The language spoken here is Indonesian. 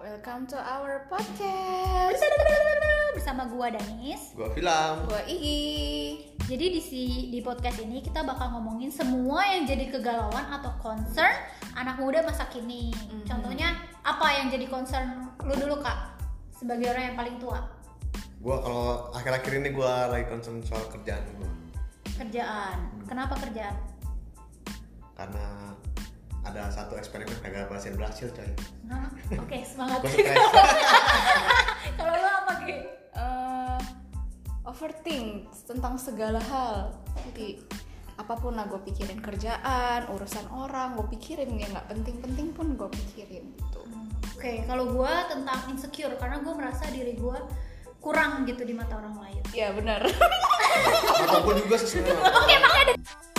welcome to our podcast. bersama gua Danis. Gua film. Gua Ii. Jadi di si- di podcast ini kita bakal ngomongin semua yang jadi kegalauan atau concern anak muda masa kini. Mhm. Contohnya apa yang jadi concern lu dulu kak sebagai orang yang paling tua Gua kalau akhir-akhir ini gua lagi concern soal kerjaan gua. kerjaan. Kenapa kerjaan? Karena ada satu eksperimen kagak berhasil berhasil coy. Hah? Oke semangat. Gua stres. Kalau lu apa Ki? Eh, overthink tentang segala hal. Jadi apapun lah gue pikirin kerjaan, urusan orang, gue pikirin yang nggak penting-penting pun gue pikirin gitu. Hmm, Oke kalau gua tentang insecure karena gua merasa diri gua kurang gitu di mata orang lain. Ya benar. Atau gua juga sih sebenarnya. Oke makanya